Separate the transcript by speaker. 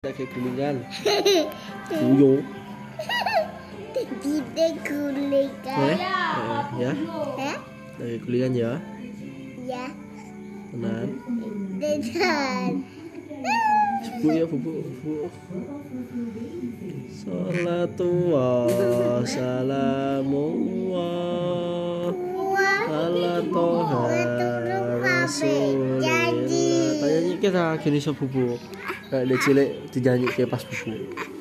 Speaker 1: Kayak kuningan. Puyuh.
Speaker 2: Kita
Speaker 1: Eh,
Speaker 2: kulikan.
Speaker 1: eh, ya.
Speaker 2: Hah?
Speaker 1: Dari kuningan ya.
Speaker 2: Ya.
Speaker 1: Tenang.
Speaker 2: Dejan.
Speaker 1: Bubu ya bubu. bubu. Salatullah salamullah ala toha rasulillah.
Speaker 2: Jadi.
Speaker 1: Tanya kita gini sebubu. Kayak dia cilik dijanji kayak pas bubu.